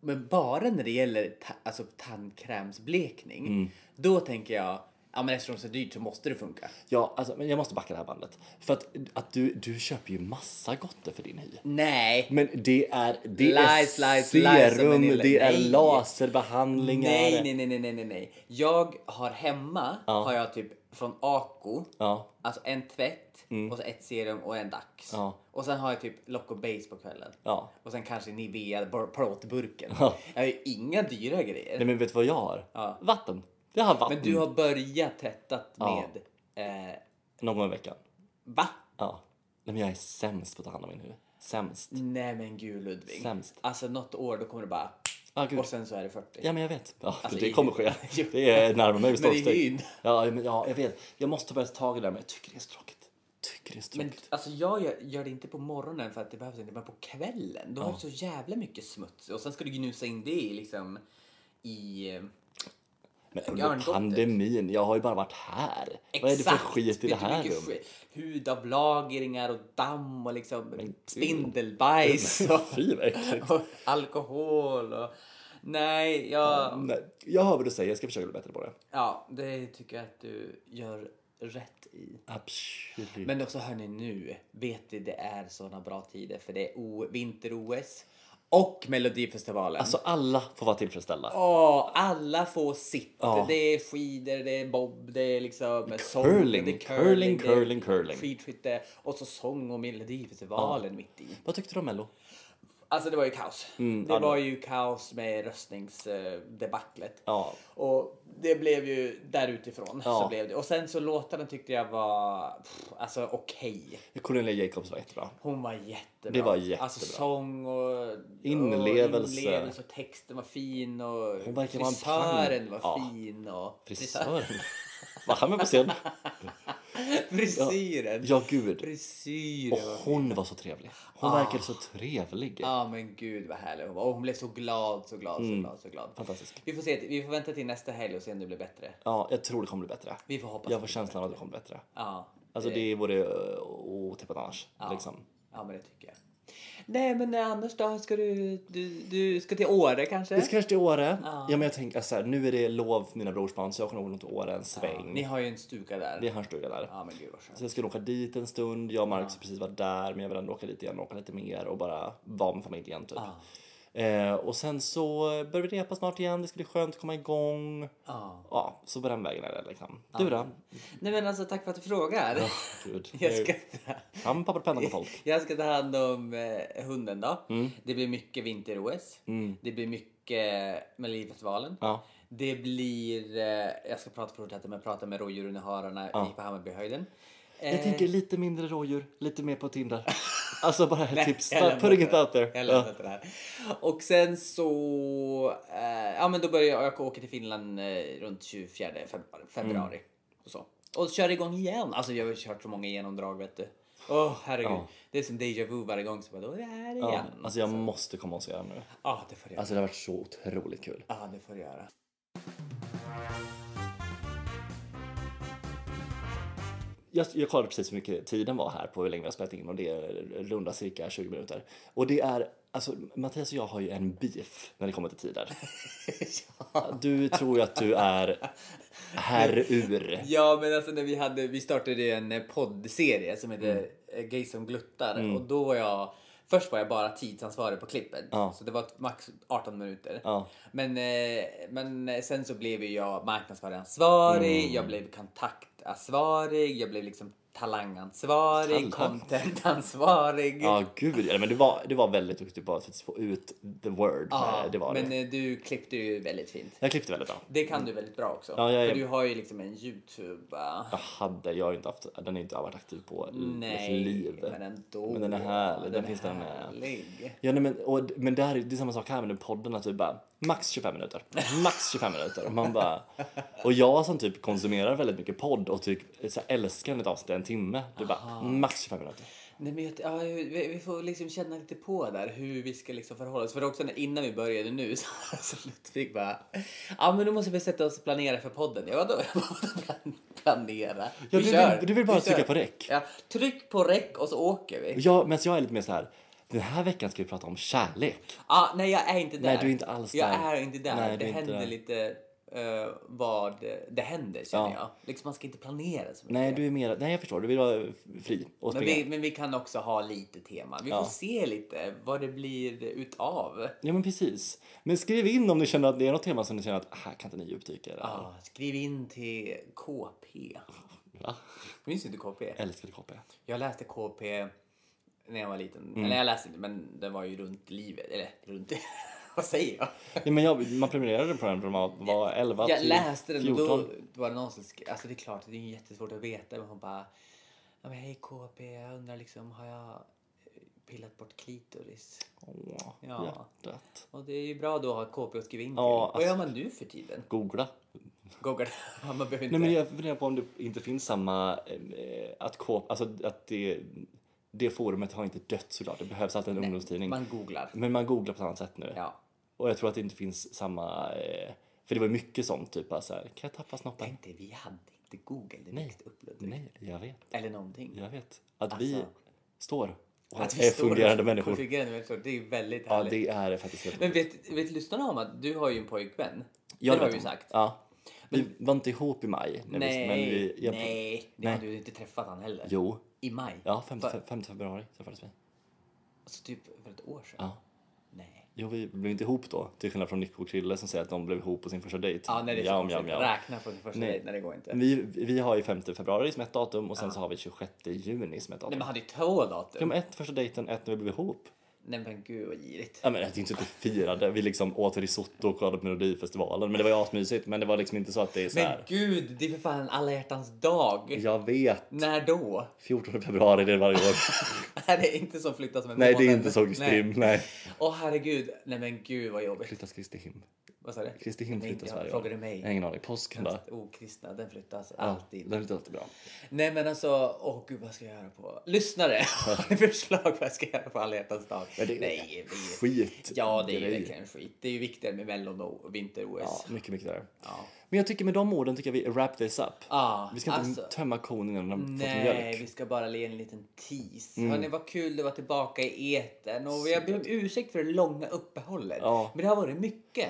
[SPEAKER 1] men bara när det gäller ta- alltså, tandkrämsblekning,
[SPEAKER 2] Mm.
[SPEAKER 1] då tänker jag, ja men eftersom det är så dyrt så måste det funka.
[SPEAKER 2] Ja, alltså, men jag måste backa det här bandet. För att, att du, du köper ju massa gotter för din hy.
[SPEAKER 1] Nej!
[SPEAKER 2] Men det är, det
[SPEAKER 1] Lies,
[SPEAKER 2] är
[SPEAKER 1] lies, lies, som
[SPEAKER 2] serum,
[SPEAKER 1] en lille-
[SPEAKER 2] det är
[SPEAKER 1] Nej.
[SPEAKER 2] laserbehandlingar.
[SPEAKER 1] Nej, nej, nej, nej, nej, nej, nej. Jag har hemma, har jag typ från Ako,
[SPEAKER 2] Ja.
[SPEAKER 1] alltså en tvätt och så ett serum och en Dax.
[SPEAKER 2] Mm. Ja.
[SPEAKER 1] Och sen har jag typ Loco Base på kvällen.
[SPEAKER 2] Ja.
[SPEAKER 1] Och sen kanske Nivea bara plåtburken.
[SPEAKER 2] Ja.
[SPEAKER 1] Jag har ju inga dyra grejer.
[SPEAKER 2] Nej men vet du vad jag har?
[SPEAKER 1] Ja.
[SPEAKER 2] Vatten. Jag har vatten
[SPEAKER 1] Men du har börjat tvättat
[SPEAKER 2] Ja.
[SPEAKER 1] med, eh,
[SPEAKER 2] någon gång i veckan.
[SPEAKER 1] va?
[SPEAKER 2] Ja. Nej men jag är sämst på att ta hand om min huvud. Sämst.
[SPEAKER 1] Nej men gud Ludvig.
[SPEAKER 2] Sämst.
[SPEAKER 1] Alltså något år då kommer det bara
[SPEAKER 2] Ja, gud.
[SPEAKER 1] och sen så är det 40.
[SPEAKER 2] Ja men jag vet. Ja,
[SPEAKER 1] Alltså,
[SPEAKER 2] det
[SPEAKER 1] i-
[SPEAKER 2] kommer ske.
[SPEAKER 1] Jo.
[SPEAKER 2] Det är närmare mig med
[SPEAKER 1] Men i
[SPEAKER 2] stormsteg.
[SPEAKER 1] hyn.
[SPEAKER 2] Ja, men, ja, jag vet. Jag måste börja ta tag i det där men jag tycker det är så tråkigt. Tycker det är så
[SPEAKER 1] Men
[SPEAKER 2] tråkigt.
[SPEAKER 1] alltså jag gör, gör det inte på morgonen för att det behövs inte, men på kvällen då har du så jävla mycket smuts och sen ska du gnusa in det i liksom i... eh,
[SPEAKER 2] Men
[SPEAKER 1] har
[SPEAKER 2] under
[SPEAKER 1] en dotter.
[SPEAKER 2] pandemin, jag har ju bara varit här. Vad är det för skit i det
[SPEAKER 1] Vet du hur
[SPEAKER 2] här
[SPEAKER 1] mycket
[SPEAKER 2] rummet?
[SPEAKER 1] skit? Hudavlagringar och damm och liksom
[SPEAKER 2] gud.
[SPEAKER 1] spindelbajs och,
[SPEAKER 2] Fy vad äckligt.
[SPEAKER 1] och alkohol och... Nej, jag...
[SPEAKER 2] Nej, jag hör vad du säger, jag ska försöka bli bättre på det.
[SPEAKER 1] Ja, det tycker jag att du gör rätt i.
[SPEAKER 2] Absolut.
[SPEAKER 1] Men också hörni nu, vet ni det är såna bra tider för det är o- vinter-OS och Melodifestivalen.
[SPEAKER 2] Alltså alla får vara tillfredsställda.
[SPEAKER 1] Åh, alla får sitt.
[SPEAKER 2] Ja.
[SPEAKER 1] Det är skidor, det är bob, det är liksom sång,
[SPEAKER 2] Curling,
[SPEAKER 1] det är
[SPEAKER 2] curling,
[SPEAKER 1] det är
[SPEAKER 2] curling, curling.
[SPEAKER 1] Skidskytte och så sång och Melodifestivalen mitt i.
[SPEAKER 2] Vad tyckte du om Mello?
[SPEAKER 1] Alltså det var ju kaos. det
[SPEAKER 2] Mm, ja, det-
[SPEAKER 1] var ju kaos med röstningsdebaclet.
[SPEAKER 2] Ja.
[SPEAKER 1] Och det blev ju där utifrån
[SPEAKER 2] Ja.
[SPEAKER 1] så blev det. Och sen så låtarna tyckte jag var pff, alltså okej.
[SPEAKER 2] Cornelia Jacobs var jättebra.
[SPEAKER 1] Hon var jättebra.
[SPEAKER 2] Det var jättebra.
[SPEAKER 1] Alltså sång och
[SPEAKER 2] Inlevelse.
[SPEAKER 1] och inlevelse och texten var fin och
[SPEAKER 2] Hon verkar vara en
[SPEAKER 1] frisören
[SPEAKER 2] pang.
[SPEAKER 1] var
[SPEAKER 2] Ja.
[SPEAKER 1] fin och
[SPEAKER 2] Frisören. Var han med på scen?
[SPEAKER 1] frisyren.
[SPEAKER 2] Ja, gud.
[SPEAKER 1] Frisyren.
[SPEAKER 2] Och
[SPEAKER 1] var-
[SPEAKER 2] hon var så trevlig. Hon verkade så trevlig.
[SPEAKER 1] Ja men gud vad härlig hon var. Och hon blev så glad, så glad, så glad, så glad.
[SPEAKER 2] Mm. Fantastisk.
[SPEAKER 1] Vi får, se, vi får vänta till nästa helg och se om det blir bättre.
[SPEAKER 2] Ja, jag tror det kommer bli bättre.
[SPEAKER 1] Vi får hoppas.
[SPEAKER 2] Jag får känslan av att det kommer bli bättre.
[SPEAKER 1] Ja,
[SPEAKER 2] Alltså
[SPEAKER 1] det-
[SPEAKER 2] det vore ö, otippat annars. Liksom.
[SPEAKER 1] ja men det tycker jag. Nej men annars då? Ska du, du, du ska till Åre kanske?
[SPEAKER 2] Vi ska kanske till Åre. Ja. men jag tänker så här, nu är det lov för mina brorsbarn så jag kommer nog till Åre en sväng.
[SPEAKER 1] Ni har ju en stuga där.
[SPEAKER 2] Det är hans stuga där.
[SPEAKER 1] Ja men gud vad skönt.
[SPEAKER 2] Så jag ska nog åka dit en stund. Jag och Marcus har precis varit där men jag vill ändå åka dit igen och åka lite mer och bara vara med familjen typ. Eh, och sen så börjar vi repa snart igen. Det ska bli skönt att komma igång.
[SPEAKER 1] Ja.
[SPEAKER 2] Ja, så på den vägen är det liksom. Du då?
[SPEAKER 1] Nej men alltså tack för att du frågar.
[SPEAKER 2] Gud.
[SPEAKER 1] Jag ska,
[SPEAKER 2] Fram papper och penna på folk.
[SPEAKER 1] jag ska ta hand om eh, hunden då.
[SPEAKER 2] Mm.
[SPEAKER 1] Det blir mycket vinter-OS. Det blir mycket Melodifestivalen.
[SPEAKER 2] Ja.
[SPEAKER 1] Det blir, eh, jag ska prata fortsätta med att prata med rådjuren och hararna i på Hammarbyhöjden. Eh,
[SPEAKER 2] Jag tänker lite mindre rådjur, lite mer på Tinder. Alltså bara ett tips.
[SPEAKER 1] jag lämnar
[SPEAKER 2] Putting it
[SPEAKER 1] det där.
[SPEAKER 2] out there.
[SPEAKER 1] Jag
[SPEAKER 2] Ja.
[SPEAKER 1] lämnar det där. Och sen så, eh, ja men då börjar jag, jag åker till Finland eh, runt 24
[SPEAKER 2] Mm.
[SPEAKER 1] februari. februari och, så. och kör igång igen. Alltså jag har ju kört så många genomdrag vet du. Åh herregud.
[SPEAKER 2] Ja.
[SPEAKER 1] Det är som déjà vu varje gång. Så bara, då är det här igen.
[SPEAKER 2] Ja,
[SPEAKER 1] Ja,
[SPEAKER 2] alltså jag måste komma och se den nu.
[SPEAKER 1] det får du göra.
[SPEAKER 2] Alltså det har varit så otroligt kul.
[SPEAKER 1] Ja, det får du göra.
[SPEAKER 2] Jag, jag kollade precis hur mycket tiden var här på hur länge vi har spelat in och det är runda cirka 20 minuter. Och det är, alltså Mattias och jag har ju en beef när det kommer till tider. Du tror ju att du är herr ur.
[SPEAKER 1] Ja, men alltså när vi hade, vi startade ju en eh, poddserie som heter mm. Gay som gluttar
[SPEAKER 2] Mm.
[SPEAKER 1] och då var jag, först var jag bara tidsansvarig på klippet
[SPEAKER 2] Ja.
[SPEAKER 1] så det var max 18 minuter.
[SPEAKER 2] Ja.
[SPEAKER 1] Men, eh, men eh, sen så blev ju jag marknadsföringsansvarig,
[SPEAKER 2] Mm.
[SPEAKER 1] jag blev kontaktansvarig, jag blev liksom talangansvarig,
[SPEAKER 2] Talang.
[SPEAKER 1] contentansvarig.
[SPEAKER 2] Ja, gud. ja, Men du var, du var väldigt duktig på att få ut the word.
[SPEAKER 1] Ja,
[SPEAKER 2] Eh, det var
[SPEAKER 1] men
[SPEAKER 2] det.
[SPEAKER 1] eh, du klippte ju väldigt fint.
[SPEAKER 2] Jag klippte väldigt bra.
[SPEAKER 1] Det kan du väldigt bra också.
[SPEAKER 2] Ja, jag är-
[SPEAKER 1] För du har ju liksom en YouTube... eh,
[SPEAKER 2] Jag hade, jag har ju inte haft, den har ju inte varit aktiv på i
[SPEAKER 1] Nej,
[SPEAKER 2] mitt liv.
[SPEAKER 1] men ändå.
[SPEAKER 2] Men den är härlig, den
[SPEAKER 1] är
[SPEAKER 2] finns där med.
[SPEAKER 1] härlig.
[SPEAKER 2] Ja, nej, men, och, men där, är- det är samma sak här med den podden, att typ bara max 25 minuter. Max 25 minuter. Och, man bara, och jag som typ konsumerar väldigt mycket podd och typ, så här, älskar ett avsnitt i en timme. Det är bara max 25 minuter.
[SPEAKER 1] Nej, men jag, ja, vi, vi får liksom känna lite på där hur vi ska liksom förhålla oss. För också när, innan vi började nu så så Ludvig bara... Ja, men då måste vi sätta oss och planera för podden. Ja, vadå? Jag bara, "Plan- planera. Vi
[SPEAKER 2] Ja, du
[SPEAKER 1] kör.
[SPEAKER 2] vill- du vill bara
[SPEAKER 1] Vi
[SPEAKER 2] trycka
[SPEAKER 1] kör."
[SPEAKER 2] på räck.
[SPEAKER 1] Ja, tryck på räck och så åker vi.
[SPEAKER 2] Jag, medan jag är lite mer så här, den här veckan ska vi prata om kärlek.
[SPEAKER 1] Ah, nej, jag är inte där.
[SPEAKER 2] Nej, du är inte alls
[SPEAKER 1] jag
[SPEAKER 2] där.
[SPEAKER 1] är inte där.
[SPEAKER 2] Nej, du
[SPEAKER 1] det
[SPEAKER 2] är inte
[SPEAKER 1] händer
[SPEAKER 2] där.
[SPEAKER 1] lite eh, vad det händer, känner
[SPEAKER 2] Ja.
[SPEAKER 1] jag. Liksom, man ska inte planera så mycket.
[SPEAKER 2] Nej, du är mer, nej jag förstår, du vill vara fri och
[SPEAKER 1] Men
[SPEAKER 2] springa.
[SPEAKER 1] vi, men vi kan också ha lite tema. Vi
[SPEAKER 2] Ja.
[SPEAKER 1] får se lite vad det blir utav.
[SPEAKER 2] Ja men precis. Men skriv in om ni känner att det är något tema som ni känner att "Ah, här kan inte ni djupdyka i det här."
[SPEAKER 1] Ja, skriv in till KP.
[SPEAKER 2] Va?
[SPEAKER 1] Minns du inte KP?
[SPEAKER 2] Älskade KP.
[SPEAKER 1] Jag läste KP när jag var liten.
[SPEAKER 2] Mm.
[SPEAKER 1] Eller jag läste inte, men den var ju runt livet. Eller runt... vad säger jag?
[SPEAKER 2] Ja, men jag, man prenumererade på den från man var 11
[SPEAKER 1] Jag
[SPEAKER 2] till
[SPEAKER 1] läste den och
[SPEAKER 2] 14.
[SPEAKER 1] då var det någon som skrev, alltså det är klart det är ju jättesvårt att veta men hon bara ja, men hej KP jag undrar liksom har jag pillat bort klitoris?
[SPEAKER 2] Åh,
[SPEAKER 1] Ja.
[SPEAKER 2] hjärtat.
[SPEAKER 1] Och det är ju bra då att ha KP att skriva in till.
[SPEAKER 2] Ja,
[SPEAKER 1] Vad gör
[SPEAKER 2] alltså-
[SPEAKER 1] man nu för tiden?
[SPEAKER 2] Googla.
[SPEAKER 1] Google? man behöver inte.
[SPEAKER 2] Nej, men jag funderar på om det inte finns samma... eh, Att, K, alltså, att det, det forumet har inte dött såklart. Det behövs alltid en ungdomstidning.
[SPEAKER 1] Man googlar.
[SPEAKER 2] Men man googlar på ett annat sätt nu.
[SPEAKER 1] Ja.
[SPEAKER 2] Och jag tror att det inte finns samma... eh, För det var mycket sånt, typ bara så här, kan jag tappa snoppen?
[SPEAKER 1] Tänk dig, vi hade inte Google när vi
[SPEAKER 2] Nej.
[SPEAKER 1] växte upp Ludvig.
[SPEAKER 2] Nej, jag vet.
[SPEAKER 1] Eller någonting.
[SPEAKER 2] Jag vet. Att vi
[SPEAKER 1] Alltså.
[SPEAKER 2] står och
[SPEAKER 1] Att vi
[SPEAKER 2] är
[SPEAKER 1] står-
[SPEAKER 2] fungerande människor.
[SPEAKER 1] Fungerande människor, det är ju väldigt
[SPEAKER 2] Ja,
[SPEAKER 1] härligt.
[SPEAKER 2] det är faktiskt helt
[SPEAKER 1] Men vet, vet lyssnarna om att du har ju en pojkvän?
[SPEAKER 2] Ja,
[SPEAKER 1] det har
[SPEAKER 2] vet
[SPEAKER 1] vi ju
[SPEAKER 2] hon.
[SPEAKER 1] sagt.
[SPEAKER 2] Ja. Vi var inte ihop i maj. när vi-
[SPEAKER 1] Nej,
[SPEAKER 2] men vi, jag,
[SPEAKER 1] nej, det
[SPEAKER 2] nej.
[SPEAKER 1] hade du inte träffat han heller.
[SPEAKER 2] Jo.
[SPEAKER 1] I maj?
[SPEAKER 2] Ja, 5
[SPEAKER 1] För,
[SPEAKER 2] februari träffades vi.
[SPEAKER 1] alltså typ för ett år sedan?
[SPEAKER 2] Ja.
[SPEAKER 1] Nej.
[SPEAKER 2] Jo, vi blev inte ihop då. Till skillnad från Nico och Krille som säger att de blev ihop på sin första dejt.
[SPEAKER 1] Ja, nej, det är så
[SPEAKER 2] Jam,
[SPEAKER 1] konstigt.
[SPEAKER 2] jam, jam.
[SPEAKER 1] Räkna på sin första
[SPEAKER 2] Nej.
[SPEAKER 1] dejt, nej det går inte.
[SPEAKER 2] Vi, vi har ju 5 februari som ett datum och sen så har vi 26 juni som ett
[SPEAKER 1] Nej
[SPEAKER 2] datum.
[SPEAKER 1] men hade ju två
[SPEAKER 2] Ja,
[SPEAKER 1] datum.
[SPEAKER 2] men ett första dejten, ett när vi blev ihop.
[SPEAKER 1] Nej men gud vad girigt.
[SPEAKER 2] Ja, men det är inte så att vi firade. Vi liksom åt risotto och kollade på Melodifestivalen. Men det var ju asmysigt. Men det var liksom inte så att det är så
[SPEAKER 1] Men
[SPEAKER 2] här.
[SPEAKER 1] gud, det är för fan alla hjärtans dag.
[SPEAKER 2] Jag vet.
[SPEAKER 1] När då?
[SPEAKER 2] 14 februari det är varje år.
[SPEAKER 1] Nej, det är inte som flyttas med
[SPEAKER 2] Nej, det är
[SPEAKER 1] månaden.
[SPEAKER 2] inte så Kristim. Nej.
[SPEAKER 1] Nej. Åh herregud, nej men gud vad jobbigt.
[SPEAKER 2] Flyttas Kristihem.
[SPEAKER 1] Vad sa du?
[SPEAKER 2] Kristihem
[SPEAKER 1] Nej,
[SPEAKER 2] flyttas
[SPEAKER 1] jag-
[SPEAKER 2] varje år.
[SPEAKER 1] Frågar du mig?
[SPEAKER 2] Jag har ingen aning. Påsken då?
[SPEAKER 1] Okristna, den flyttas
[SPEAKER 2] Det
[SPEAKER 1] alltid.
[SPEAKER 2] är inte alltid bra.
[SPEAKER 1] Nej men alltså, åh gud vad ska jag göra på... Lyssnare! Har ni förslag vad jag ska göra på alla hjärtans dag?
[SPEAKER 2] Men det är-
[SPEAKER 1] Nej, det är ju...
[SPEAKER 2] Skit.
[SPEAKER 1] Ja, det är ju
[SPEAKER 2] grej.
[SPEAKER 1] verkligen skit. Det är ju viktigare med mellon och vinter-OS.
[SPEAKER 2] Ja, mycket, mycket där.
[SPEAKER 1] Ja.
[SPEAKER 2] Men jag tycker med de orden tycker jag vi wrap this up.
[SPEAKER 1] Ja,
[SPEAKER 2] vi ska inte
[SPEAKER 1] alltså-
[SPEAKER 2] tömma kon innan den har fått
[SPEAKER 1] Nej, vi
[SPEAKER 2] mjölk. Mm.
[SPEAKER 1] ska bara le en liten tease. Hörni, vad kul det var tillbaka i etern. Och jag ber om ursäkt för det långa uppehållet.
[SPEAKER 2] Ja.
[SPEAKER 1] Men det har varit mycket.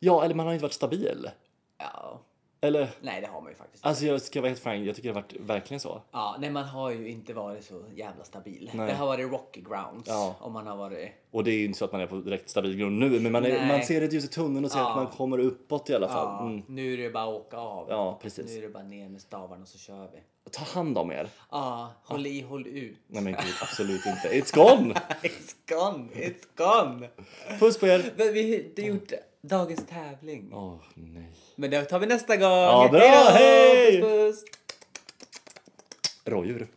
[SPEAKER 2] Ja, eller man har inte varit stabil.
[SPEAKER 1] Ja,
[SPEAKER 2] Eller?
[SPEAKER 1] nej det har man ju faktiskt.
[SPEAKER 2] Alltså jag ska vara helt frank, jag tycker det har varit verkligen så.
[SPEAKER 1] Ja, nej man har ju inte varit så jävla stabil.
[SPEAKER 2] Nej.
[SPEAKER 1] Det har varit rocky grounds.
[SPEAKER 2] Ja.
[SPEAKER 1] Om man har varit...
[SPEAKER 2] Och det är ju inte så att man är på direkt stabil grund nu, men man, är,
[SPEAKER 1] Nej.
[SPEAKER 2] man ser ett ljus i tunneln och ser
[SPEAKER 1] Ja.
[SPEAKER 2] att man kommer uppåt i alla fall.
[SPEAKER 1] Ja,
[SPEAKER 2] Ja, mm.
[SPEAKER 1] Nu är det bara att åka av.
[SPEAKER 2] ja
[SPEAKER 1] Nu är
[SPEAKER 2] precis.
[SPEAKER 1] det bara ner med stavarna och så kör vi.
[SPEAKER 2] Ta hand om er.
[SPEAKER 1] Ja, håll i, håll ut.
[SPEAKER 2] Nej men gud, absolut inte. It's gone!
[SPEAKER 1] It's gone, it's gone!
[SPEAKER 2] Puss på er!
[SPEAKER 1] Men vi har inte gjort dagens tävling.
[SPEAKER 2] Åh nej.
[SPEAKER 1] Men det tar vi nästa gång.
[SPEAKER 2] bra,
[SPEAKER 1] Hejdå!
[SPEAKER 2] hej!
[SPEAKER 1] Puss, puss.
[SPEAKER 2] Rådjur.